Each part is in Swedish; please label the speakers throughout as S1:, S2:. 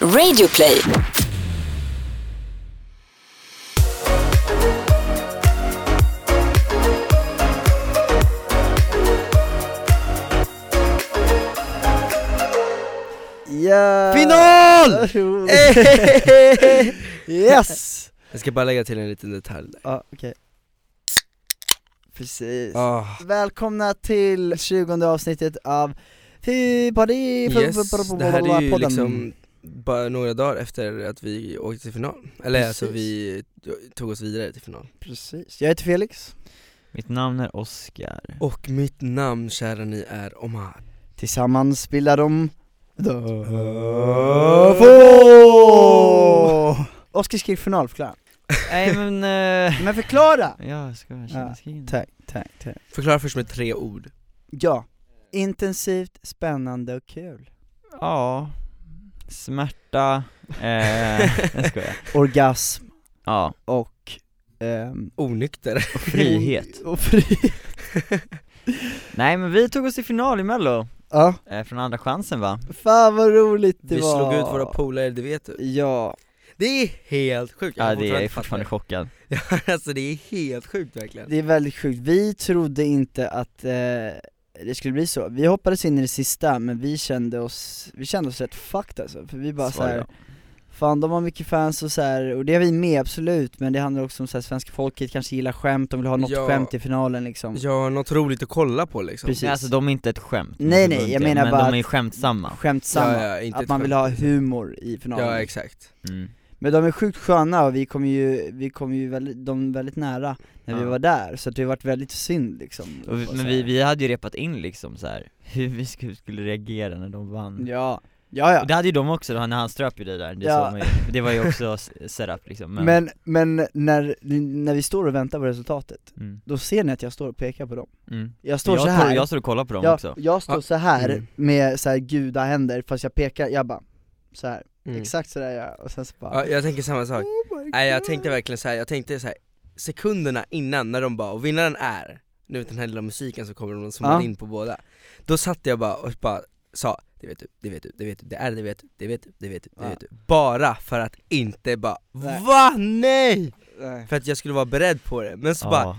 S1: Radioplay.
S2: Yeah.
S3: Final!
S2: yes!
S3: Jag ska bara lägga till en liten detalj där.
S2: Ja, okej. Precis.
S3: Ah,
S2: Välkomna till 20 avsnittet av Fy-parti
S3: yes, det här är ju liksom bara några dagar efter att vi åkte till final. Eller alltså
S2: Precis.
S3: vi tog oss vidare till final.
S2: Precis. Jag heter Felix.
S4: Mitt namn är Oscar.
S3: Och mitt namn kära ni är Omar.
S2: Tillsammans bildar de The
S3: Four!
S2: Oskar skrev finalförklara.
S4: Nej men, eh,
S2: Men förklara!
S4: ja ska jag
S2: Ja,
S4: känna skriven?
S2: Tack, tack, tack.
S3: Förklara först med tre ord.
S2: Ja. Intensivt, spännande och kul.
S4: Ja, smärta, eh, jag skojar.
S2: Orgasm
S4: Ja,
S2: och... ehm,
S3: Onykter.
S4: och frihet.
S2: Och fri...
S4: Nej men vi tog oss till final i mello,
S2: Ja.
S4: eh, från andra chansen va?
S2: Fan vad roligt det
S3: Vi
S2: var.
S3: slog ut våra polare, det vet du.
S2: Ja.
S3: Det är helt sjukt.
S4: Ja
S3: har
S4: det jag är
S3: inte fattat
S4: fortfarande chockad.
S3: det. alltså det är helt sjukt verkligen.
S2: Det är väldigt sjukt, vi trodde inte att eh, det skulle bli så. Vi hoppades in i det sista men vi kände oss, vi kände oss rätt fucked alltså, för vi bara
S4: Svar
S2: såhär,
S4: ja.
S2: fan de har mycket fans och så här, och det är vi med absolut men det handlar också om såhär, svenska folket kanske gillar skämt, de vill ha något
S3: Ja.
S2: skämt i finalen liksom
S3: Ja, något roligt att kolla på liksom.
S2: Precis.
S4: Nej, alltså de är inte ett skämt.
S2: Nej, nej, jag menar
S4: men
S2: bara
S4: de är ju
S2: att-
S4: skämtsamma.
S2: Skämtsamma,
S3: Ja, ja, inte
S2: att
S3: ett
S2: man vill ha
S3: skämt. liksom.
S2: humor i finalen
S3: Ja, exakt.
S4: Mm.
S2: Men de är sjukt sköna och vi kom ju, vi kom ju väldigt, de väldigt nära när vi
S4: Ja.
S2: var där, så att det har varit väldigt synd liksom
S4: Och vi,
S2: Och så
S4: men
S2: här.
S4: vi, vi hade ju repat in liksom så här hur vi skulle, skulle reagera när de vann.
S2: Ja, ja, ja.
S4: Och Det hade ju de också då, när han ströp ju dig där, det,
S2: Ja.
S4: såg man ju, det var ju också s- setup liksom men,
S2: Men, men när, när vi står och väntar på resultatet,
S4: Mm,
S2: då ser ni att jag står och pekar på dem
S4: mm.
S2: Jag står
S4: Jag,
S2: så
S4: tar,
S2: här.
S4: jag står och kollar på dem
S2: jag,
S4: också
S2: jag står
S3: Ah,
S2: så här
S3: mm.
S2: med så här gudahänder, fast jag pekar, jag bara så här.
S3: Mm.
S2: exakt sådär gör jag, och sen så bara
S3: Ja, jag tänker samma sak.
S2: oh my
S3: Nej jag
S2: God.
S3: tänkte verkligen så här, jag tänkte så här, sekunderna innan när de bara, och vinnaren är, nu vet den här lilla musiken som kommer, de
S2: Ja.
S3: zoomade in på båda Då satt jag bara och bara sa, det vet du, det vet du, det vet du, det är det vet du, det vet du, det vet du, det
S2: Ja.
S3: vet du Bara för att inte bara,
S2: Nej.
S3: VA NEJ!
S2: Nej.
S3: För att jag skulle vara beredd på det, men så bara
S4: Ja,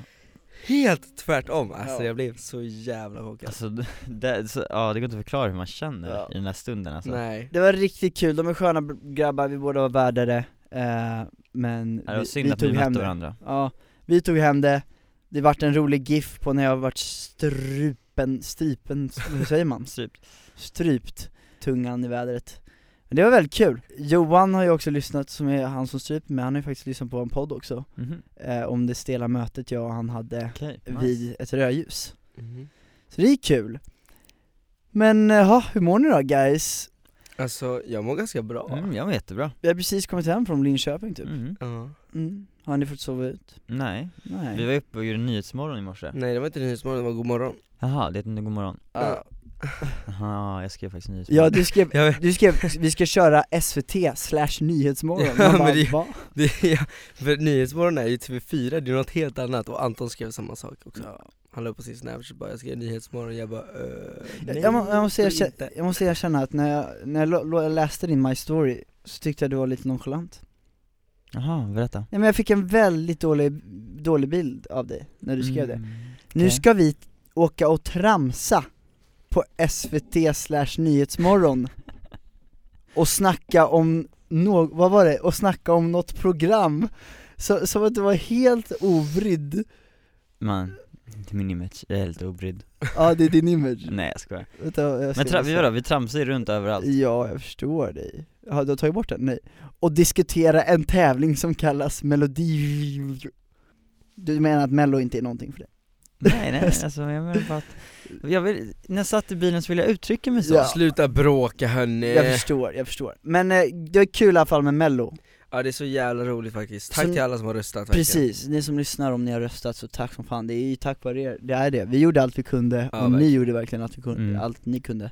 S3: helt tvärtom, alltså
S2: Ja.
S3: jag blev så jävla chockad
S4: alltså, d- det, så, ja, det går inte att förklara hur man känner
S2: Ja.
S4: i den här stunden alltså
S3: Nej,
S2: Det var riktigt kul, de är sköna b- grabbar, vi båda var värdare, eh, men
S4: Ja, Det var
S2: vi,
S4: synd
S2: vi
S4: att vi
S2: tog hem
S4: mötte
S2: det
S4: varandra
S2: Ja, vi tog hem det, det vart en rolig GIF på när jag vart strupen, stripen, hur säger man?
S4: Strypt.
S2: strypt tungan i vädret Men det var väldigt kul, Johan har ju också lyssnat, som är han som stryper mig, han har ju faktiskt lyssnat på en podd också
S4: Mhm.
S2: eh, Om det stela mötet jag och han hade
S4: Okej, nice.
S2: vid ett rödljus
S3: Mhm.
S2: Så det är kul Men eh, ja, hur mår ni då guys?
S3: alltså jag mår ganska bra
S4: mm, Jag mår jättebra
S2: Vi har precis kommit hem från Linköping typ
S4: mm.
S3: Ja.
S2: mm. Har ni fått sova ut?
S4: Nej,
S2: Nej Mm.
S4: vi var uppe och gjorde Nyhetsmorgon i morse
S3: Nej det var inte Nyhetsmorgon, det var Godmorgon
S4: Jaha, det är inte god morgon.
S2: Ja.
S4: Jaha, jag skrev faktiskt Nyhetsmorgon
S2: Ja du skrev,
S3: Jag vet-
S2: du skrev, vi ska köra SVT slash nyhetsmorgon,
S3: Ja,
S2: Man
S3: men
S2: bara,
S3: det-
S2: "Va?"
S3: Det, ja, för Nyhetsmorgon är ju TV4, det är något helt annat och Anton skrev samma sak också Han la upp på sin snapchat bara, jag skrev Nyhetsmorgon jag bara öh,
S2: Jag,
S3: nej,
S2: jag, må, jag, måste
S3: det är
S2: erkänna,
S3: inte.
S2: jag måste erkänna att när jag, när jag lo- lo- jag läste din My Story så tyckte jag du var lite nonchalant
S4: Jaha, berätta
S2: Nej men jag fick en väldigt dålig, dålig bild av dig när du skrev det
S4: Mm,
S2: Nu
S4: okej.
S2: ska vi t- åka och tramsa på SVT slash nyhetsmorgon och snacka om nå vad var det? Och snacka om något program så, som att du var helt ovrydd,
S4: Man, inte min image, jag är helt obrydd
S2: ja det är din image
S4: Nej jag skojar
S2: Vänta, Mm. jag ska
S4: Men tra- vi, vadå, vi tramsar ju runt överallt
S2: Ja, jag förstår dig. Har du har tagit bort den? Nej. Och diskutera en tävling som kallas melodi... Du menar att mello inte är någonting för dig?
S4: Nej nej, alltså jag menar bara att, jag vill, när jag satt i bilen så ville jag uttrycka mig så
S2: Ja.
S3: Sluta bråka hörni!
S2: Jag förstår, jag förstår. Men eh, det är kul i alla fall med mello.
S3: Ja det är så jävla roligt faktiskt, tack
S2: Så-
S3: till alla som har röstat verkligen.
S2: Precis, ni som lyssnar om ni har röstat så tack som fan. Det är ju tack vare er, det är det. Vi gjorde allt vi kunde
S3: Ja,
S2: och ni
S3: verkligen.
S2: gjorde verkligen allt, vi kunde,
S4: Mm.
S2: allt ni kunde.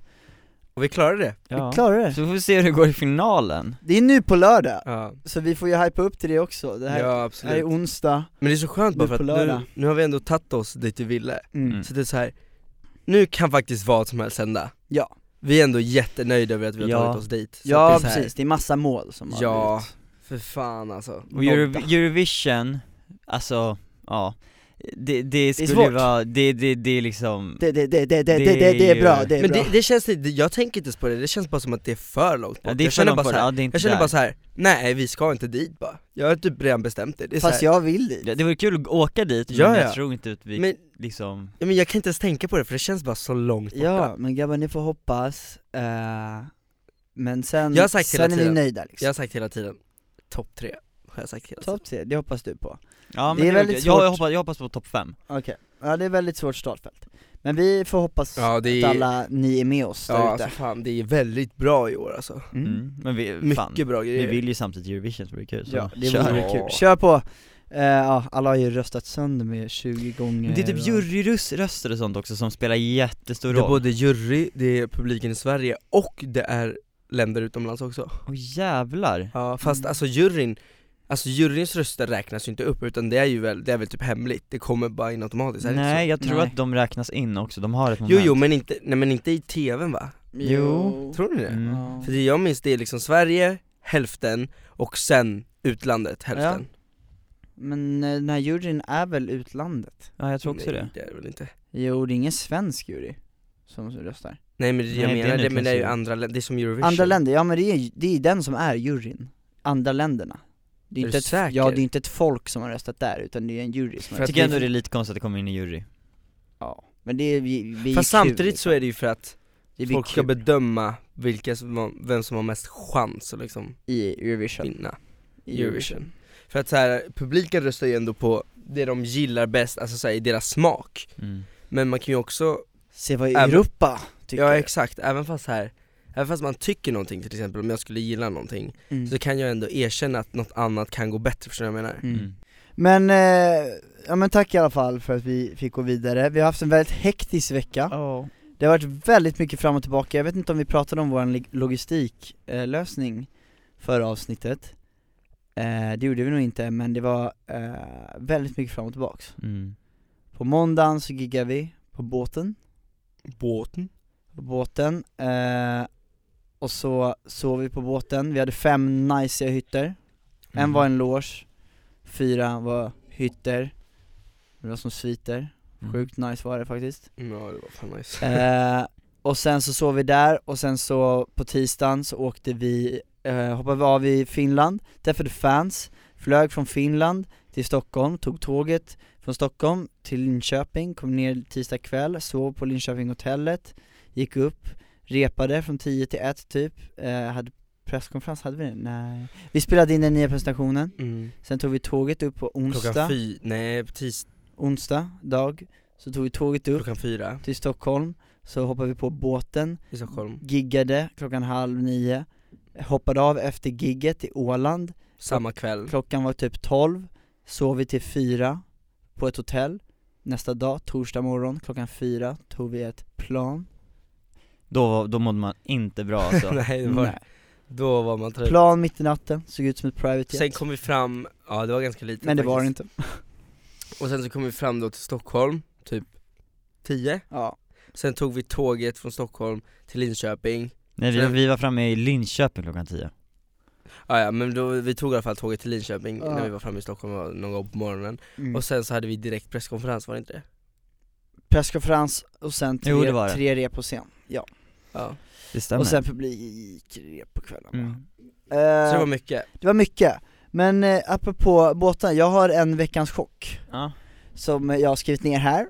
S3: Och vi klarade det!
S4: Ja.
S2: Vi klarade det.
S4: Så får vi se hur det går i finalen
S2: Det är nu på lördag,
S3: Ja,
S2: så vi får ju hypa upp till det också. Det här,
S3: ja
S2: det här är
S3: absolut
S2: onsdag.
S3: Men det är så skönt bara
S2: nu
S3: för
S2: på
S3: att nu,
S2: lördag.
S3: nu har vi ändå tagit oss dit vi ville,
S2: Mm.
S4: Mm.
S3: så det är så här. nu kan faktiskt vad som helst hända
S2: Ja.
S3: Vi är ändå jättenöjda över att vi har
S4: Ja.
S3: tagit oss dit Så
S2: Ja
S3: att det är så här,
S2: precis, det är massa mål som har
S3: Ja,
S2: blivit
S3: för fan alltså
S4: Och
S2: nådda.
S4: Euro- Eurovision, alltså, ja Det, det
S2: Det är
S4: skulle
S2: svårt.
S4: vara, det, det, det är liksom
S2: det, det, det, det, det,
S4: Det
S2: det, det, det
S4: är
S2: är
S4: ju-
S2: bra, det är
S3: Men
S2: bra
S3: det, det känns inte, jag tänker inte ens på det, det känns bara som att det är för långt bort
S4: ja, det är
S3: Jag
S4: för
S3: känner
S4: långt
S3: bara
S4: bort,
S3: så här,
S4: ja, det är inte
S3: jag känner
S4: där.
S3: bara så här. nej vi ska inte dit bara Jag har typ redan bestämt det, det är så
S2: Fast
S3: här,
S2: jag vill dit
S4: Ja, Det vore kul att åka dit, men
S3: Ja, ja.
S4: jag tror inte att vi
S3: men,
S4: liksom
S3: ja, men jag kan inte ens tänka på det för det känns bara så långt borta
S2: Ja, men grabbar ni får hoppas, eh, men sen,
S3: Jag har sagt hela
S2: sen är ni
S3: tiden.
S2: nöjda liksom
S3: Jag har sagt hela tiden, topp tre har jag sagt hela tiden
S2: Topp tre, det hoppas du på
S4: Ja men
S2: Det är
S4: väl
S2: väldigt
S4: jag, jag,
S2: svårt.
S4: hoppas, jag hoppas på topp 5
S2: Okej, ja det är väldigt svårt startfält Men vi får hoppas
S3: Ja det
S2: att
S3: är, ja,
S2: alla ni är med oss där
S3: alltså,
S2: ute
S3: fan, det är väldigt bra i år alltså
S2: Mm.
S4: mm. Men vi, fan,
S3: Mycket bra
S4: vi
S3: grejer
S4: vill ju samtidigt Eurovision så det är kul så
S2: Ja, det
S4: kör.
S2: vore
S3: Ja.
S2: kul. Kör på! Eh, Ja, alla har ju röstat sönder med 20 gånger
S4: Men det är typ
S2: och-
S4: juryröster och sånt också som spelar jättestor
S3: Det är
S4: roll
S3: både jury, det är publiken i Sverige och det är länder utomlands också
S4: Åh jävlar
S3: Ja fast
S4: Mm.
S3: alltså juryn, alltså juryns röster räknas ju inte upp utan det är ju väl, det är väl typ hemligt, det kommer bara in automatiskt, är det inte
S4: Nej jag tror
S2: Nej.
S4: att de räknas in också, de har ett
S3: så?
S4: moment
S3: Jo jo men inte, nej men inte i tvn va?
S2: Jo,
S3: Tror ni det?
S4: Mm.
S2: Ja.
S3: För det jag minns det är liksom Sverige, hälften, och sen utlandet, hälften
S2: Men eh, den här juryn är väl utlandet?
S4: Ja jag tror också
S3: nej,
S4: det
S3: det är det väl inte
S2: Jo, det är ingen svensk jury som röstar
S3: Nej men det jag
S4: Nej, det är
S3: menar, det, men det är ju
S4: utlandsjury.
S3: andra länder, det är som Eurovision
S2: Andra länder, ja men det är, det är den som är juryn, andra länderna det är,
S3: Är
S2: inte
S3: du
S2: ett,
S3: säker?
S2: Ja, det är inte ett folk som har röstat där, utan det är en jury som
S3: För
S2: har
S4: Jag
S3: att
S2: röstat
S4: tycker ändå
S3: vi-
S4: det är lite konstigt att det kommer in i jury
S2: Ja, men det är, vi, vi
S3: Fast samtidigt
S4: liksom.
S3: så är det ju för att
S2: det blir
S3: folk ska
S2: kul
S3: bedöma vilka som, har- vem som har mest chans att liksom
S2: i Eurovision,
S3: vinna
S2: i
S3: Eurovision. För att så här, publiken röstar ju ändå på det de gillar bäst, alltså så här, i deras smak
S4: mm.
S3: Men man kan ju också,
S2: Se vad
S3: Även-
S2: Europa tycker
S3: ja exakt, även fast här Även fast man tycker någonting till exempel, om jag skulle gilla någonting
S2: Mm.
S3: Så kan jag ändå erkänna att något annat kan gå bättre, förstår du vad jag menar?
S2: Mm. Men, eh, ja men tack i alla fall för att vi fick gå vidare, vi har haft en väldigt hektisk vecka Det har varit väldigt mycket fram och tillbaka, jag vet inte om vi pratade om vår logistiklösning förra avsnittet eh, Det gjorde vi nog inte, men det var eh, väldigt mycket fram och tillbaks
S4: Mm.
S2: På måndagen så giggade vi på båten,
S3: Båten?
S2: på båten eh, Och så sov vi på båten, vi hade fem najsiga hytter
S4: Mm.
S2: En var en loge, fyra var hytter Det var som sviter,
S4: Mm.
S2: sjukt nice var det faktiskt
S3: Mm, Ja det var fan nice
S2: Eh, och sen så sov vi där och sen så på tisdagen så åkte vi, eh, hoppade vi av i Finland, träffade fans, flög från Finland till Stockholm, tog tåget från Stockholm till Linköping, kom ner tisdag kväll, sov på Linköping hotellet, gick upp, repade från 10 till 1 typ, eh, hade presskonferens, hade vi det? Nej. Vi spelade in den nya presentationen,
S3: mm.
S2: sen tog vi tåget upp på
S3: Klockan
S2: onsdag,
S3: fyra, nej tis,
S2: onsdag dag, så tog vi tåget upp
S3: klockan fyra
S2: till Stockholm, så hoppade vi på båten
S3: i Stockholm
S2: giggade klockan halv nio, hoppade av efter gigget i Åland,
S3: Samma kväll,
S2: klockan var typ 12, sov vi till fyra på ett hotell, nästa dag, torsdag morgon klockan fyra, tog vi ett plan,
S4: Då, var- då mådde man inte bra alltså
S3: nej det var,
S2: Nej.
S3: då var man trött
S2: plan mitt i natten, såg ut som ett private
S3: Sen
S2: jet,
S3: kom vi fram, ja det var ganska lite
S2: men det var det
S3: faktiskt.
S2: inte
S3: Och sen så kom vi fram då till Stockholm, typ 10
S2: Ja,
S3: Sen tog vi tåget från Stockholm till Linköping
S4: Nej vi, vi var framme i Linköping klockan 10
S3: ah, ja, men då, vi tog i alla fall tåget till Linköping
S2: Ja.
S3: när vi var framme i Stockholm det var någon gång på morgonen
S2: Ah. mm.
S3: Och sen så hade vi direkt presskonferens, var det inte det?
S2: presskonferens och sen tre,
S4: Jo, det var det.
S2: tre rep på scen, ja,
S3: Ja,
S2: Eh.
S4: Det stämmer
S2: och sen publikrep på kvällen
S4: mm.
S3: så det
S2: eh,
S3: var mycket
S2: Det var mycket, men eh, apropå båtar, jag har en veckans chock
S4: ja.
S2: som jag har skrivit ner här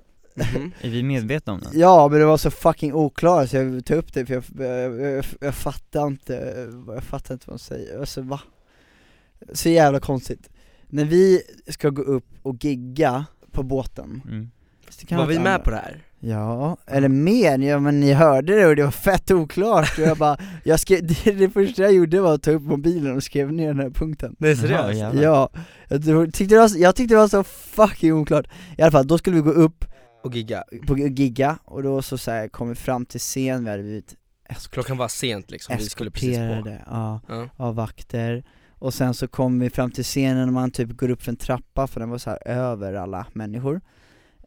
S3: Mhm.
S4: Är vi medvetna om det?
S2: Ja men det var så fucking oklart så jag tog upp det för jag, jag, jag, jag fattar inte, jag fattar inte vad de säger, alltså va? Så jävla konstigt. När vi ska gå upp och gigga på båten
S4: Mm.
S2: så kan
S3: Var
S2: jag
S3: vi
S2: inte
S3: med
S2: andra-
S3: på det här?
S2: Ja, eller med, ja men ni hörde det och det var fett oklart och jag bara, jag skrev, det, det första jag gjorde var att ta upp mobilen och skrev ner den här punkten
S3: Nej
S4: seriöst?
S3: seriöst?
S4: Jävlar.
S2: Ja, jag tror- tyckte det var, så- jag tyckte det var så fucking oklart I alla fall, då skulle vi gå upp
S3: Och gigga,
S2: på gigga och då så, så här, kom vi fram till scen, vi hade blivit
S3: klockan var sent liksom, vi skulle precis på
S2: eskorterade ja,
S3: ja.
S2: av vakter och sen så kom vi fram till scenen och man typ går upp för en trappa för den var så här över alla människor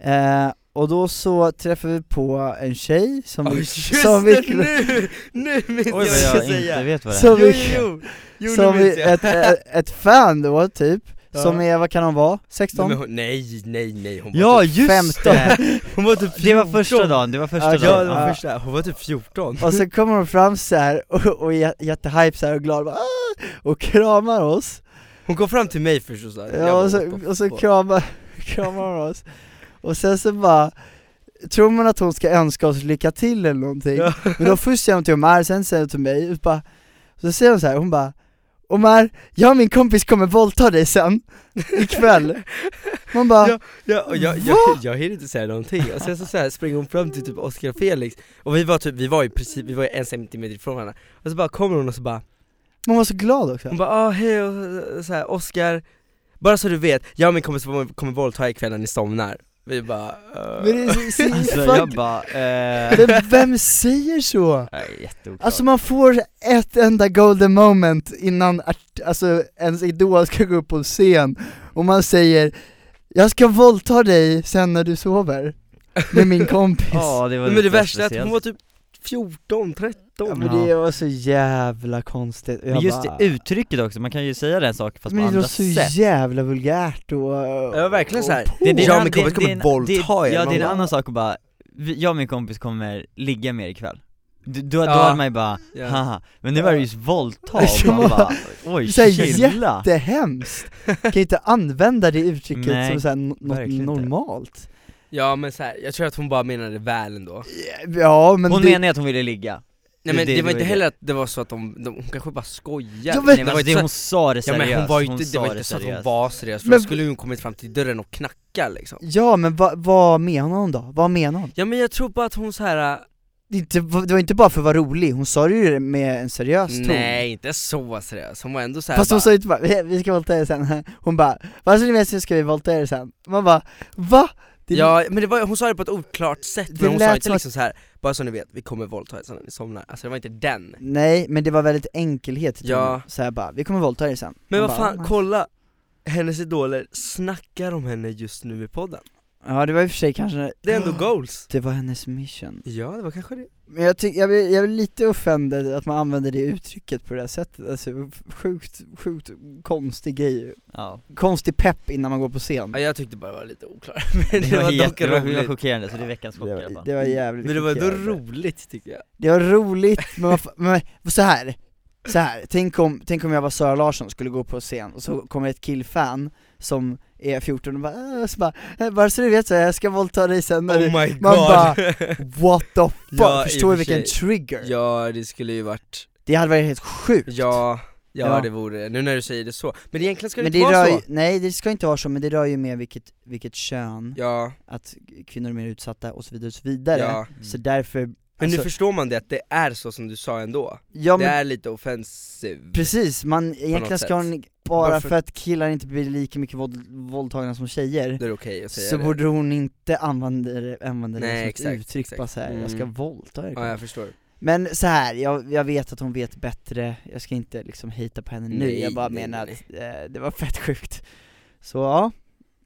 S2: Eh, och då så träffade vi på en tjej som
S3: Ja,
S2: vi,
S3: just
S2: som
S3: det,
S2: vi,
S3: nu! Nu minns jag vad
S4: Oj vad
S3: jag
S4: jag
S3: ska
S4: inte
S3: säga!
S4: vet vad det
S2: Så-
S3: Jo,
S4: är.
S3: jo,
S2: mycket.
S3: jo! Jo,
S2: som
S3: nu minns
S2: vi
S3: jag!
S2: ett, ett, ett fan då typ,
S3: Ja.
S2: som är, vad kan hon vara? 16?
S3: Nej, men hon- nej, nej, nej, hon
S4: Ja
S3: var
S4: just det!
S3: typ, hon var typ
S4: Det var första
S3: 14.
S4: dagen, det var första
S2: Alltså, Ja,
S3: Ja,
S4: dagen.
S3: det
S4: Ja.
S3: var
S2: Ja.
S3: första, hon var typ 14
S2: Och sen kommer hon fram så här och, och är jättehype så här och glad bara, "Ah!" och kramar oss
S3: Hon kom fram till mig först och sa jag
S2: Ja,
S3: bara,
S2: och
S3: what the
S2: så, och så
S3: fuck?
S2: kramar, kramar hon oss, och sen så bara Tror man att hon ska önska oss lycka till eller någonting?
S3: Ja.
S2: Men då först säger hon till Omar, sen säger hon till mig, och bara, så säger hon så här, hon bara Omar, jag och min kompis kommer våldta dig sen, ikväll Man bara,
S3: Ja, ja, och jag, jag, jag, hinner inte säga någonting, och sen så, så här, springer hon fram till typ Oscar och Felix Och vi var typ, vi var i princip, vi var en centimeter ifrån varandra Och så bara kommer hon och så bara,
S2: man var så glad också
S3: hon bara ah, hej och så här, Oscar Bara så du vet, jag och min kompis kommer, kommer våldta er ikväll när ni somnar Vi bara eh,
S2: Men det är så, så,
S4: Alltså
S2: fuck-
S4: jag bara, eh...
S2: Men vem säger så?
S4: nej, jätteoklart.
S2: Alltså man får ett enda golden moment innan art- alltså ens idol ska gå upp på scen och man säger 'Jag ska våldta dig sen när du sover' med min kompis
S4: Ja det var
S3: Men
S4: lite
S3: det värsta är att
S4: speciellt.
S3: hon var typ 14, 13
S2: Ja, men det var så jävla konstigt, jag
S4: Men just
S2: bara,
S4: det uttrycket också, man kan ju säga den saken fast på
S2: Men det var
S4: andra
S2: så
S4: sätt
S2: jävla vulgärt och...
S3: Ja, verkligen
S2: och
S3: så här.
S2: på.
S3: Det är det-
S4: en
S3: Ja,
S4: annan-
S3: min kompis
S4: det- det är
S3: kommer
S4: en-
S3: våldta
S4: det-
S3: er.
S4: Ja det
S3: Man
S4: är en
S3: bara-
S4: annan sak att bara, vi- jag och min kompis kommer ligga med er ikväll Du- då, då
S3: Ja.
S4: hade man ju bara,
S3: Ja.
S4: haha, men nu var det just våldta och
S2: Ja.
S4: man bara, oj
S2: Så här,
S4: chilla
S2: Jättehemskt! Kan ju inte använda det uttrycket
S4: Nej,
S2: som så här, no- något
S4: verkligen inte.
S2: normalt
S3: Ja men så här, jag tror att hon bara menade väl ändå
S2: Ja men
S4: Hon
S2: det...
S4: menade att hon ville ligga
S3: Nej men det,
S4: Det-
S3: var
S4: det
S3: inte
S4: var
S3: heller att det var så att de, de hon kanske bara skojade
S2: Ja, men-
S4: Nej
S3: det
S4: men
S3: var
S4: alltså,
S3: inte
S4: det,
S3: så-
S4: hon sa det
S3: Ja
S4: seriöst,
S3: men hon var ju inte, det
S4: sa
S3: var inte så att hon
S4: seriöst.
S3: var seriös, för
S2: Men-
S3: då skulle hon kommit fram till dörren och knacka liksom
S2: Ja men vad vad menar hon då? Vad menar hon?
S3: Ja men jag tror bara att hon så här. äh,
S2: Det, inte, det var inte bara för att vara rolig, hon sa det ju med en seriös ton
S3: nej inte så seriös, hon var ändå så här
S2: Fast hon
S3: bara,
S2: sa ju inte bara "Eh, 'Vi- 'vi ska våldta er sen' Hon bara 'Vad så ni vet så ska vi våldta er sen' Man bara 'Va?' Det,
S3: Ja men det var, hon sa det på ett oklart sätt,
S2: Det
S3: men hon sa
S2: lät
S3: inte
S2: som att-
S3: liksom så här. bara så ni vet, vi kommer våldta er sen när ni somnar, alltså det var inte den
S2: Nej men det var väldigt enkelhet i
S3: Ja.
S2: tonen. så här bara 'Vi kommer våldta er sen'
S3: Men
S2: Man
S3: vad
S2: bara,
S3: fan,
S2: "Oh my."
S3: kolla! Hennes idoler snackar om henne just nu i podden,
S2: Ja det var i och för sig kanske,
S3: det är ändå goals
S2: det var hennes mission
S3: Ja det var kanske det
S2: Men jag tycker, jag blir, jag blir lite offended att man använder det uttrycket på det här sättet, alltså sjukt, sjukt konstig grej
S4: Ja.
S2: Konstig pepp innan man går på scen
S3: ja, jag tyckte bara det var lite oklart, men
S4: Det var,
S3: dock
S4: jätte, det var, det var
S3: roligt
S4: chockerande, så det är veckans chock i
S2: det
S4: alla
S2: var,
S4: fall
S2: det var jävligt
S3: Men det var ändå
S2: chockerande.
S3: roligt tycker jag
S2: Det var roligt, men, vad fa- men så här. Så här. Tänk, om, tänk om jag var Sara Larsson och skulle gå på scen och så kommer ett killfan som är 14 och bara, äh, så bara äh, bara så du vet så här, jag ska våldta dig sen när du...
S3: Oh my god!
S2: man bara- What the fuck?
S3: Ja, i och
S2: Förstår du
S3: för
S2: vilken
S3: sig.
S2: trigger?
S3: ja det skulle ju varit
S2: Det hade varit helt sjukt
S3: Ja, ja,
S2: Ja.
S3: det vore det, nu när du säger det så. Men egentligen ska det
S2: men
S3: inte
S2: det rör
S3: vara
S2: ju,
S3: så!
S2: nej det ska inte vara så, men det rör ju mer vilket, vilket kön,
S3: Ja,
S2: att kvinnor är mer utsatta och så vidare och så vidare
S3: ja.
S4: Mm.
S2: Så därför,
S3: Men nu
S2: alltså-
S3: förstår man det, att det är så som du sa ändå.
S2: ja
S3: det
S2: men
S3: är lite offensiv.
S2: precis, man egentligen
S3: något
S2: ska
S3: sätt.
S2: hon, bara
S3: Varför-
S2: för att killar inte blir lika mycket våld, våldtagna som tjejer
S3: Det är okej att säga
S2: så
S3: det.
S2: borde hon inte använda det, använda det
S3: Nej,
S2: som ett
S3: exakt,
S2: uttryck
S3: exakt.
S2: bara så här, jag ska
S3: Mm.
S2: våldta er
S3: Ja jag förstår.
S2: Men så här, jag, jag vet att hon vet bättre, jag ska inte liksom hita på henne nu,
S3: Nej,
S2: jag bara
S3: nej,
S2: menar
S3: nej,
S2: att eh, det var fett sjukt Så ja,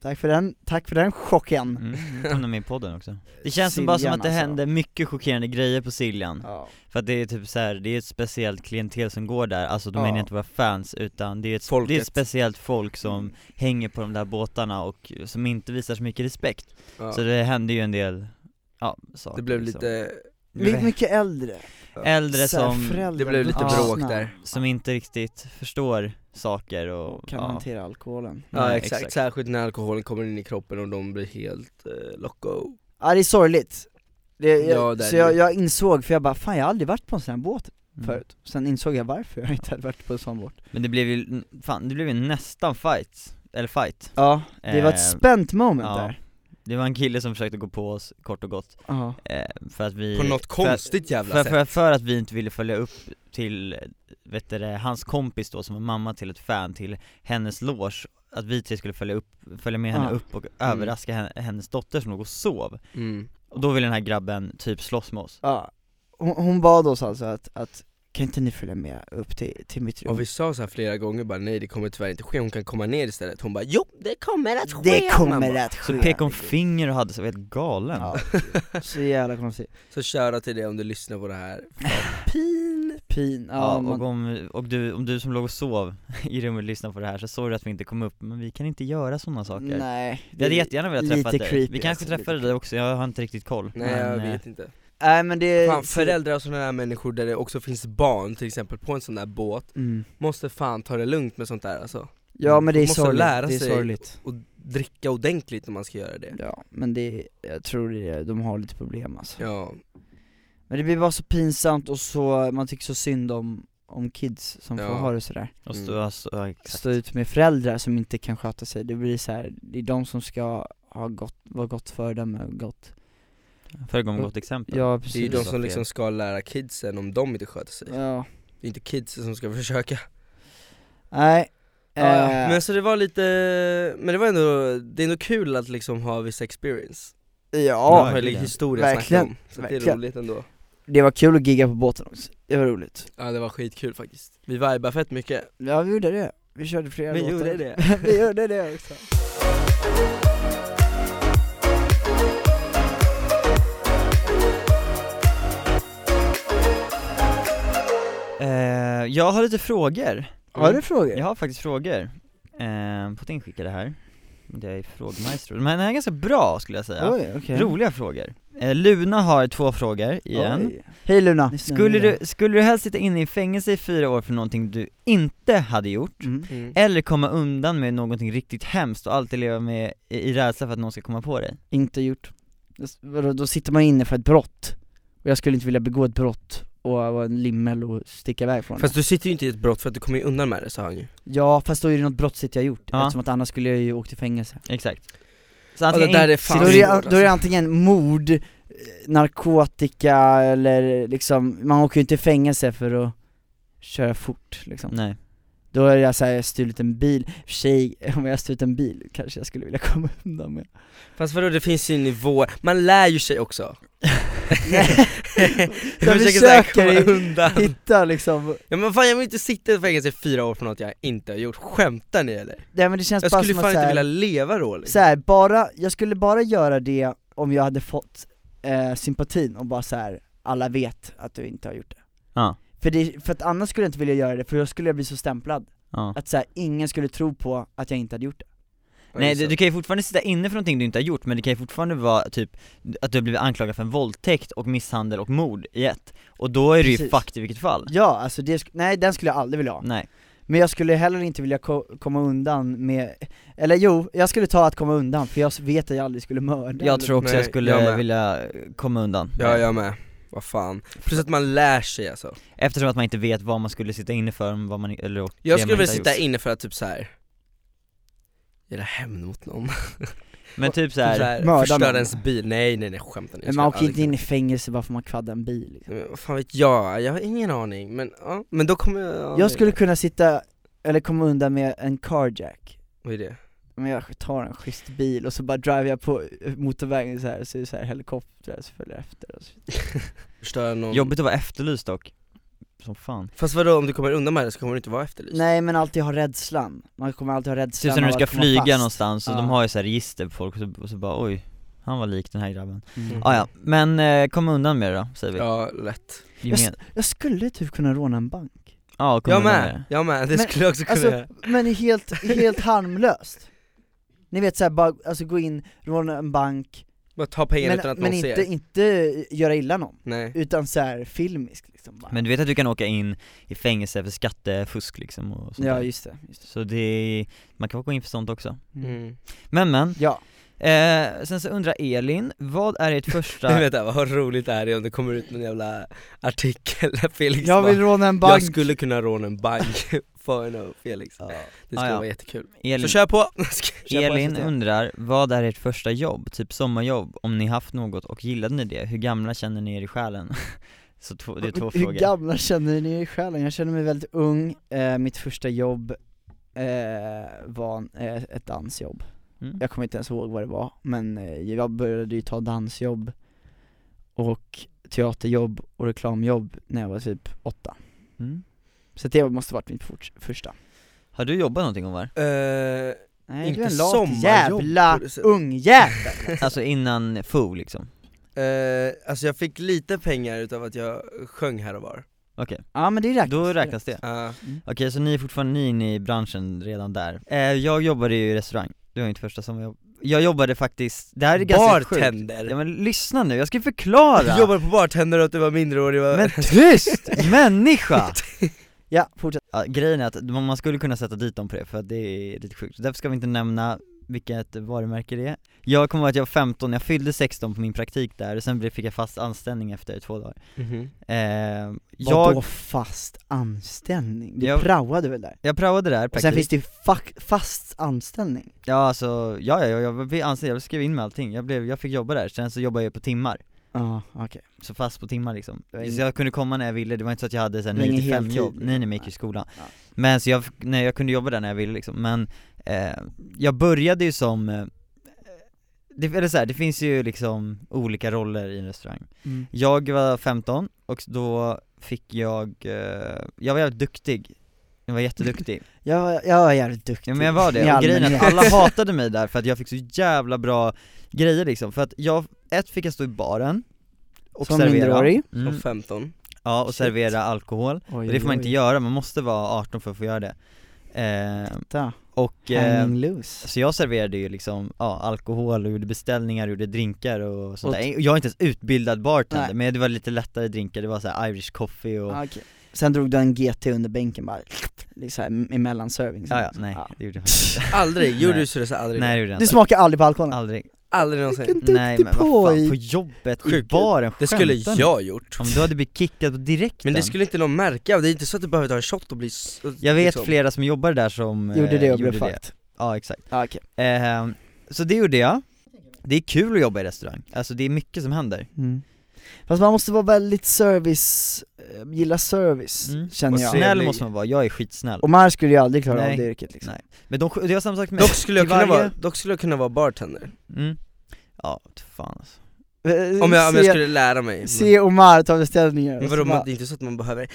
S2: tack för den, tack för den chocken
S4: Mm, nu kom de med i podden också Det känns som bara som
S2: Siljan
S4: att det
S2: alltså.
S4: hände mycket chockerande grejer på Siljan
S2: ja.
S4: För att det är typ så här, det är ett speciellt klientel som går där, alltså de
S2: Ja.
S4: menar inte bara fans utan det är, ett, det är
S3: Folket. Mm.
S4: ett speciellt folk som hänger på de där båtarna och som inte visar så mycket respekt
S3: Ja.
S4: Så det hände ju en del, ja saker
S3: det blev
S4: liksom.
S3: lite,
S2: My- Mycket äldre,
S4: Äldre
S2: Så här,
S4: som,
S2: föräldrar,
S3: det blev lite
S4: Ja.
S3: bråk där.
S4: som inte riktigt förstår saker och
S2: Kan
S4: ja.
S2: hantera alkoholen
S3: Ja
S4: Nej,
S3: exakt. särskilt när alkoholen kommer in i kroppen och de blir helt eh, loco.
S2: Ja det är sorgligt det,
S3: Ja,
S2: jag,
S3: det är
S2: Så jag,
S3: det.
S2: jag insåg, för jag bara fan jag har aldrig varit på en sån här båt
S4: Mm.
S2: förut, sen insåg jag varför jag inte hade varit på en sån båt
S4: Men det blev ju, fan det blev ju nästan fight, eller fight
S2: Ja, det var
S4: Eh,
S2: ett spänt moment
S4: ja.
S2: där
S4: Det var en kille som försökte gå på oss, kort och gott,
S2: Ja.
S4: eh, för att vi
S3: På något
S4: för att-
S3: konstigt jävla
S4: för,
S3: sätt.
S4: för, för att vi inte ville följa upp till, eh, vet du, det, hans kompis då som var mamma till ett fan till hennes loge Att vi tre skulle följa, upp, följa med henne
S2: Ah.
S4: upp och överraska henne, hennes dotter som låg och sov
S3: Mm.
S4: Och då ville den här grabben typ slåss med oss
S2: Ja, hon, hon bad oss alltså att, att kan inte ni följa med upp till, till mitt rum?
S3: Och vi sa så här flera gånger bara nej det kommer tyvärr inte ske, hon kan komma ner istället Hon bara jo det kommer att ske
S2: det kommer
S3: mamma.
S2: att ske!
S4: Så pekade hon finger och hade sig, var helt galen
S2: Ja, så jävla konstigt.
S3: Så köra till det om du lyssnar på det här Fan, Pin!
S2: Pin, ja,
S4: Ja,
S2: man,
S4: och, om, och du, om du som låg och sov i rummet och lyssnade på det här så sorry att vi inte kom upp, men vi kan inte göra sådana saker
S2: nej.
S4: Jag hade jättegärna velat
S2: lite
S4: träffa dig,
S2: creepy,
S4: vi kanske
S2: alltså, lite
S4: träffade dig också, jag har inte riktigt koll
S3: Nej jag
S4: eh,
S3: vet inte
S2: Nej men det...
S3: Fan föräldrar och sådana här människor där det också finns barn till exempel på en sån där båt
S2: Mm.
S3: Måste fan ta det lugnt med sånt där alltså
S2: Ja men det är
S3: Måste
S2: sorgligt,
S3: lära
S2: det är
S3: sig.
S2: sorgligt.
S3: Och dricka ordentligt när man ska göra det
S2: Ja, men det, jag tror det, är- de har lite problem alltså.
S3: Ja,
S2: Men det blir bara så pinsamt och så, man tycker så synd om, om kids som får
S3: Ja.
S2: ha det sådär.
S4: och
S3: Mm.
S4: stå, alltså, ja, exakt.
S2: Stå ut med föräldrar som inte kan sköta sig, det blir så här, det är de som ska ha gott, vara gott föredöme och gott.
S4: föregå
S3: Mm.
S4: med gott exempel
S2: Ja
S3: det är ju
S2: precis.
S3: de
S4: Precis.
S3: som liksom ska lära kidsen om de inte sköter sig
S2: Ja,
S3: Det är inte kidsen som ska försöka
S2: nej.
S3: Ja,
S2: eh,
S3: Men så det var lite, men det var ändå, det är ändå kul att liksom ha vissa experience Man
S2: ja,
S3: har ju
S4: verkligen.
S3: historia att snacka om,
S2: Verkligen,
S3: så det är
S2: verkligen.
S3: roligt ändå
S2: det var kul att gigga på båten också, det var roligt.
S3: Ja det var skitkul faktiskt, vi vibade fett mycket
S2: Ja vi gjorde det, vi körde flera
S3: Vi
S2: låtar.
S3: gjorde det.
S2: vi gjorde det också.
S4: eh, Jag har lite frågor
S2: Har du frågor?
S4: Jag har faktiskt frågor. Eh, Putin skickade här. Det är frågmaestro. Men den här är ganska bra skulle jag säga.
S2: Oj, okej.
S4: Roliga frågor. Eh, Luna har två frågor igen.
S2: Oj. Hej Luna!
S4: Skulle du, skulle du helst sitta inne i fängelse i fyra år för någonting du inte hade gjort?
S2: Mm.
S3: Mm.
S4: Eller komma undan med någonting riktigt hemskt och alltid leva med i, i rädsla för att någon ska komma på dig?
S2: Inte gjort. Vadå, då sitter man inne för ett brott. Och jag skulle inte vilja begå ett brott och vara en limmel och sticka iväg från
S3: Fast du sitter ju inte i ett brott för att du kommer ju undan med det sa han ju
S2: det. Ja, fast då är det något brottsligt jag gjort,
S4: Ja.
S2: eftersom att annars skulle jag ju åkt till fängelse.
S4: Exakt. Så
S3: det där
S4: in-
S3: är fan
S2: då, är
S3: svårt,
S2: det,
S3: alltså.
S2: då är det antingen mord, eh, narkotika eller liksom, man åker ju inte i fängelse för att köra fort liksom.
S4: Nej.
S2: Då är jag såhär, stulit en bil, I och för sig, om jag har stulit en bil kanske jag skulle vilja komma undan med
S3: Fast vadå det finns ju nivåer, man lär ju sig också
S2: Jag
S3: så här
S2: försöker
S3: komma undan
S2: Hitta liksom,
S3: Ja men fan jag vill inte sitta i fängelse i fyra år för något jag inte har gjort, skämtar ni eller?
S2: nej men det känns
S3: Jag
S2: bara
S3: skulle
S2: som
S3: fan
S2: att
S3: inte
S2: såhär,
S3: vilja leva då liksom.
S2: så här, bara, jag skulle bara göra det om jag hade fått eh, sympatin och bara så här, alla vet att du inte har gjort det.
S4: Ja.
S2: För, det, för att annars skulle jag inte vilja göra det, för då skulle jag bli så stämplad,
S4: Ja.
S2: att så här, ingen skulle tro på att jag inte hade gjort det.
S3: Ja,
S4: Nej
S3: just
S4: du,
S3: det.
S4: du kan ju fortfarande sitta inne för någonting du inte har gjort, men det kan ju fortfarande vara typ att du har blivit anklagad för en våldtäkt och misshandel och mord i ett, och då är du ju
S2: Precis.
S4: fucked i vilket fall
S2: Ja, alltså det, sk- nej den skulle jag aldrig vilja ha.
S4: Nej,
S2: Men jag skulle heller inte vilja ko- komma undan med, eller jo, jag skulle ta att komma undan för jag s- vet att jag aldrig skulle mörda
S4: jag tror också jag
S3: Nej, jag
S4: skulle
S3: med.
S4: vilja komma undan
S3: Ja jag med, vad fan. Plus att man lär sig alltså
S4: Eftersom att man inte vet vad man skulle sitta inne för, vad man, eller och
S3: Jag
S4: det
S3: skulle
S4: man
S3: vilja
S4: inte har
S3: sitta
S4: gjort.
S3: inne för att typ så här. Göra hämnd mot någon, typ
S4: Men typ
S3: så
S4: såhär,
S3: här,
S2: Mörda
S3: förstöra
S2: någon.
S3: ens bil, nej nej nej skämtar ni?
S2: Men man åker inte in i fängelse bara för man kvaddar en bil liksom.
S3: Men Vad fan vet jag, jag har ingen aning, men ja, men då kommer jag ja,
S2: Jag skulle kunna sitta, eller komma undan med en carjack
S3: Vad är det?
S2: men jag tar en schysst bil och så bara driver jag på motorvägen så här så är det så här helikoptrar som följer efter och så.
S3: Förstöra någon
S4: jobbigt att vara efterlyst dock Som fan Typ
S3: Fast vadå om du kommer undan med det så kommer du inte vara efterlyst?
S2: Nej men alltid ha rädslan, man kommer alltid ha rädslan
S4: Typ som när du
S2: av
S4: ska
S2: att komma
S4: flyga
S2: fast.
S4: någonstans, och
S2: Ja.
S4: de har ju såhär register på folk, och så, och så bara oj, han var lik den här grabben
S2: Mm.
S4: ah, ja. men eh, kom undan med det då, säger vi
S3: Ja, lätt
S2: Jag,
S4: Gemen-
S2: s- jag skulle typ kunna råna en bank
S4: Ja, kom
S3: Jag
S4: undan
S3: med,
S4: med det
S3: jag med,
S2: Men,
S3: det skulle jag också kunna
S2: alltså-
S3: göra
S2: Men är helt, helt harmlöst Ni vet såhär bara, alltså gå in, råna en bank
S3: Bara ta pengarna utan
S2: Men,
S3: att
S2: men
S3: någon
S2: inte,
S3: ser
S2: inte göra illa någon,
S3: Nej
S2: utan såhär filmisk liksom bara.
S4: Men du vet att du kan åka in i fängelse för skattefusk liksom och sånt
S2: Ja
S4: där.
S2: just det, just det.
S4: Så det är, man kan gå in för sånt också
S3: Mm.
S4: Men men,
S2: Ja,
S4: eh, sen så undrar Elin, vad är ert
S3: Men
S4: första,
S3: vänta, vad roligt det här är om det kommer ut någon jävla artikel där Felix
S2: jag
S3: bara,
S2: vill råna en
S3: Jag
S2: bank
S3: skulle kunna råna en bank, Farin och Felix Det skulle
S4: Ah, ja.
S3: vara jättekul Så
S4: Elin,
S3: kör på! Kör på,
S4: Elin
S3: SVT.
S4: undrar, vad är ert första jobb, typ sommarjobb, om ni haft något och gillade ni det? Hur gamla känner ni er i själen? så två, det är två
S2: Hur
S4: frågor
S2: gamla känner ni er i själen? Jag känner mig väldigt ung, eh, mitt första jobb eh, var en- eh, ett dansjobb
S4: Mm.
S2: Jag kommer inte ens ihåg vad det var, men eh, jag började ju ta dansjobb och teaterjobb och reklamjobb när jag var typ åtta
S4: Mm.
S2: Så det måste varit mitt fort- första
S4: Har du jobbat någonting Omar?
S3: Eh,
S2: Nej
S3: Inte
S2: du är en lat
S3: sommarjobb
S2: jävla
S3: på det sättet.
S2: ungjävel!
S4: Alltså innan FOO liksom?
S3: eh, alltså jag fick lite pengar utav att jag sjöng här och var
S4: Okej,
S2: Ja men det räknas
S4: då räknas det
S3: Ja,
S4: Okej, så ni är fortfarande ni är inne i branschen redan där eh, Jag jobbade ju i restaurang, det var mitt första sommarjobb Jag jobbade faktiskt, det här är ganska sjukt Ja
S3: Bartender!
S4: men lyssna nu, jag ska förklara!
S3: Du jobbade på bartender och att du var mindreårig var...
S4: Men tyst! Människa!
S2: Ja, fortsätt
S4: Ja, grejen är att man skulle kunna sätta dit dem på det för att det är lite sjukt, därför ska vi inte nämna vilket varumärke det är Jag kommer ihåg att jag var 15, jag fyllde 16 på min praktik där, och sen blev- fick jag fast anställning efter två dagar
S3: Mhm.
S4: eh,
S2: Vadå
S4: jag,
S2: fast anställning? Du
S4: Jag-
S2: praoade väl där?
S4: jag praoade där
S2: Och
S4: praktik
S2: sen finns det ju fack- fast anställning
S4: Ja alltså, ja ja, ja jag blev anställd, jag skrev in med allting, jag, blev, jag fick jobba där, sen så jobbade jag på timmar
S2: Ja, okej
S4: Så fast på timmar liksom,
S2: Det var ingen-
S4: så jag kunde komma när jag ville, det var inte så att jag hade så här
S2: Det var ingen
S4: 9 till 5
S2: heltid, liksom.
S4: jobb, nej nej men jag gick
S2: nej.
S4: i skolan
S2: Ja.
S4: Men så jag, fick- nej, jag kunde jobba där när jag ville liksom, men eh, jag började ju som, eh, det, eller så här, det finns ju liksom olika roller i en restaurang
S2: mm.
S4: jag var 15 och då fick jag, eh, jag var jävligt duktig Jag var jätteduktig,
S2: jag, var- jag var jävligt duktig
S4: ja, men jag var
S2: i
S4: det, och grejen är att
S2: allmänhet.
S4: alla hatade mig där för att jag fick så jävla bra grejer liksom, för att jag, ett fick jag stå i baren och
S2: Som
S4: servera,
S2: minderårig Oh,
S4: mm,
S3: Och 15
S4: ja och
S2: Shit.
S4: servera alkohol, och det får man inte göra, man måste vara 18 för att få göra det eh,
S2: göra
S4: Och, eh,
S2: Hanging loose
S4: så jag serverade ju liksom, ja, alkohol och gjorde beställningar, gjorde drinkar och sånt där. Jag är inte ens utbildad bartender,
S2: Nej.
S4: men det var lite lättare drinkar, det var så här Irish coffee och
S2: Ah, okej. Sen drog du en GT under bänken bara, liksom här, emellan serving
S4: Ja, ja, nej det gjorde jag faktiskt inte.
S3: Aldrig, gjorde
S4: Nej.
S3: du sådär aldrig?
S4: Nej det gjorde jag
S2: Du
S4: inte.
S2: smakar aldrig på alkoholen?
S4: Aldrig.
S3: Aldrig någonsin
S2: Vilken duktig
S4: Nej men vad fan,
S2: poj!
S4: på jobbet,
S3: Sjukt.
S4: i baren,
S3: Det skulle
S4: skämtar ni?
S3: jag gjort
S4: Om du hade blivit kickad på direkten
S3: Men det skulle inte någon märka, det är inte så att du behöver ta en shot och bli s-
S4: Jag vet
S3: liksom.
S4: flera som jobbar där som eh,
S2: Gjorde det och blev
S4: gjorde
S2: fucked?
S4: Ja exakt.
S2: Ja, okej.
S4: Ehm, så det gjorde jag. Det är kul att jobba i restaurang, alltså det är mycket som händer.
S2: Mm. Fast man måste vara väldigt service, eh, gilla service,
S4: Mm.
S2: känner
S3: Och
S2: jag
S3: se-
S4: Snäll
S3: Trevlig.
S4: måste man vara, jag är skitsnäll.
S2: Omar skulle ju aldrig klara av
S4: Nej.
S2: det yrket liksom
S4: Nej. Men de, det var samma sak med
S3: Dock skulle, jag
S4: Till
S3: kunna
S4: varje-
S3: vara, dock skulle jag kunna vara bartender,
S4: Mm. Ja, fan alltså.
S2: Eh,
S3: om jag, om jag
S2: se-
S3: skulle lära mig
S2: Se Omar ta beställningar
S3: Men
S2: och
S3: vadå,
S2: så bara,
S3: man, det är inte så att man behöver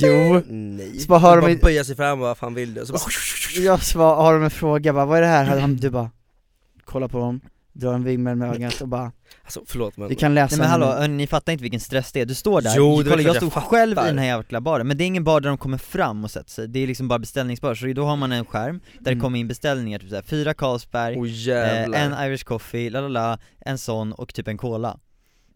S2: Jo,
S3: Nej,
S2: Så bara hör
S3: Man bara
S2: de i-
S3: böja sig fram och vad fan vill du? Och Så bara,
S2: jag svar, har de en fråga bara, vad är det här? Hade han- Du bara, kolla på dem, drar en vimmel med ögat och bara,
S3: alltså förlåt men
S2: vi kan läsa
S4: Nej men hallå,
S2: menyn."
S4: hörni, ni fattar inte vilken stress det är, du står där,
S3: Alltså, Jo, det är
S4: kolla,
S3: klart
S4: jag
S3: jag
S4: stod
S3: fattar.
S4: själv i den här jävla baren, men det är ingen bar där de kommer fram och sätter sig, det är liksom bara beställningsbar, så då har man en skärm där det
S2: Mm.
S4: kommer in beställningar, typ såhär, fyra Carlsberg,
S3: Åh Oh,
S4: eh,
S3: jävlar
S4: en Irish coffee, la la la, en sån och typ en cola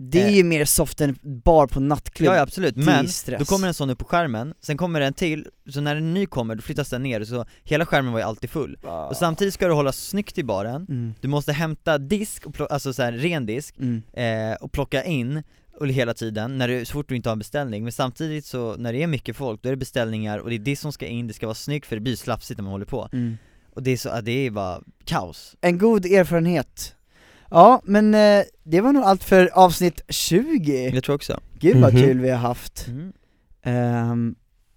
S2: Det är
S4: eh.
S2: ju mer soft än bar på nattklubb
S4: Ja, ja absolut,
S2: Det är
S4: men
S2: stress.
S4: då kommer en sån upp på skärmen, sen kommer en till, så när en ny kommer då flyttas den ner, så hela skärmen var ju alltid full Och samtidigt ska du hålla snyggt i baren,
S2: mm.
S4: du måste hämta disk, och plo- alltså såhär ren disk
S2: Mm.
S4: eh, och plocka in och hela tiden, när du, så fort du inte har en beställning, men samtidigt så när det är mycket folk, då är det beställningar och det är det som ska in, det ska vara snyggt för det blir slafsigt när man håller på
S2: Mm.
S4: Och det är så, ja, det är bara kaos
S2: En god erfarenhet Ja, men eh, det var nog allt för avsnitt 20
S4: Jag tror också
S2: Gud vad
S3: Mhm.
S2: kul vi har haft
S4: mm.
S2: Ehm,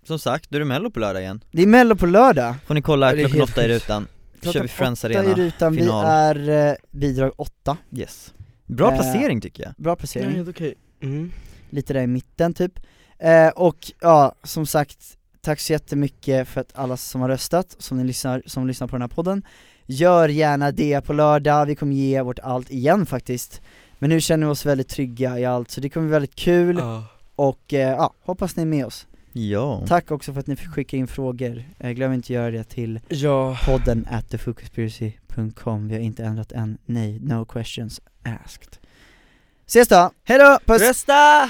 S4: Som sagt, då är det mello på lördag igen
S2: Det är mello på lördag
S4: Får ni kolla
S3: Ja, det är
S4: klockan
S3: helt
S4: åtta i
S3: sjukt.
S4: rutan, Då kör
S2: Klockan
S4: vi Friends
S2: åtta i
S4: Arena
S2: rutan, vi
S4: final.
S2: är eh, bidrag 8
S4: Yes Bra
S2: Eh,
S4: placering tycker jag
S2: Bra
S3: Ja,
S2: placering,
S3: helt okej mm.
S2: lite där i mitten typ eh, Och ja, som sagt, tack så jättemycket för att alla som har röstat, som ni lyssnar, som lyssnar på den här podden Gör gärna det på lördag, vi kommer ge vårt allt igen faktiskt Men nu känner vi oss väldigt trygga i allt, så det kommer bli väldigt kul
S3: Ja.
S2: och eh, ja, hoppas ni är med oss
S4: Ja
S2: Tack också för att ni fick skicka in frågor, eh, glöm inte att göra det till
S3: Ja,
S2: podden at thefocuspiracy.com Vi har inte ändrat än, nej, no questions asked Ses då, hejdå, puss!
S3: rösta!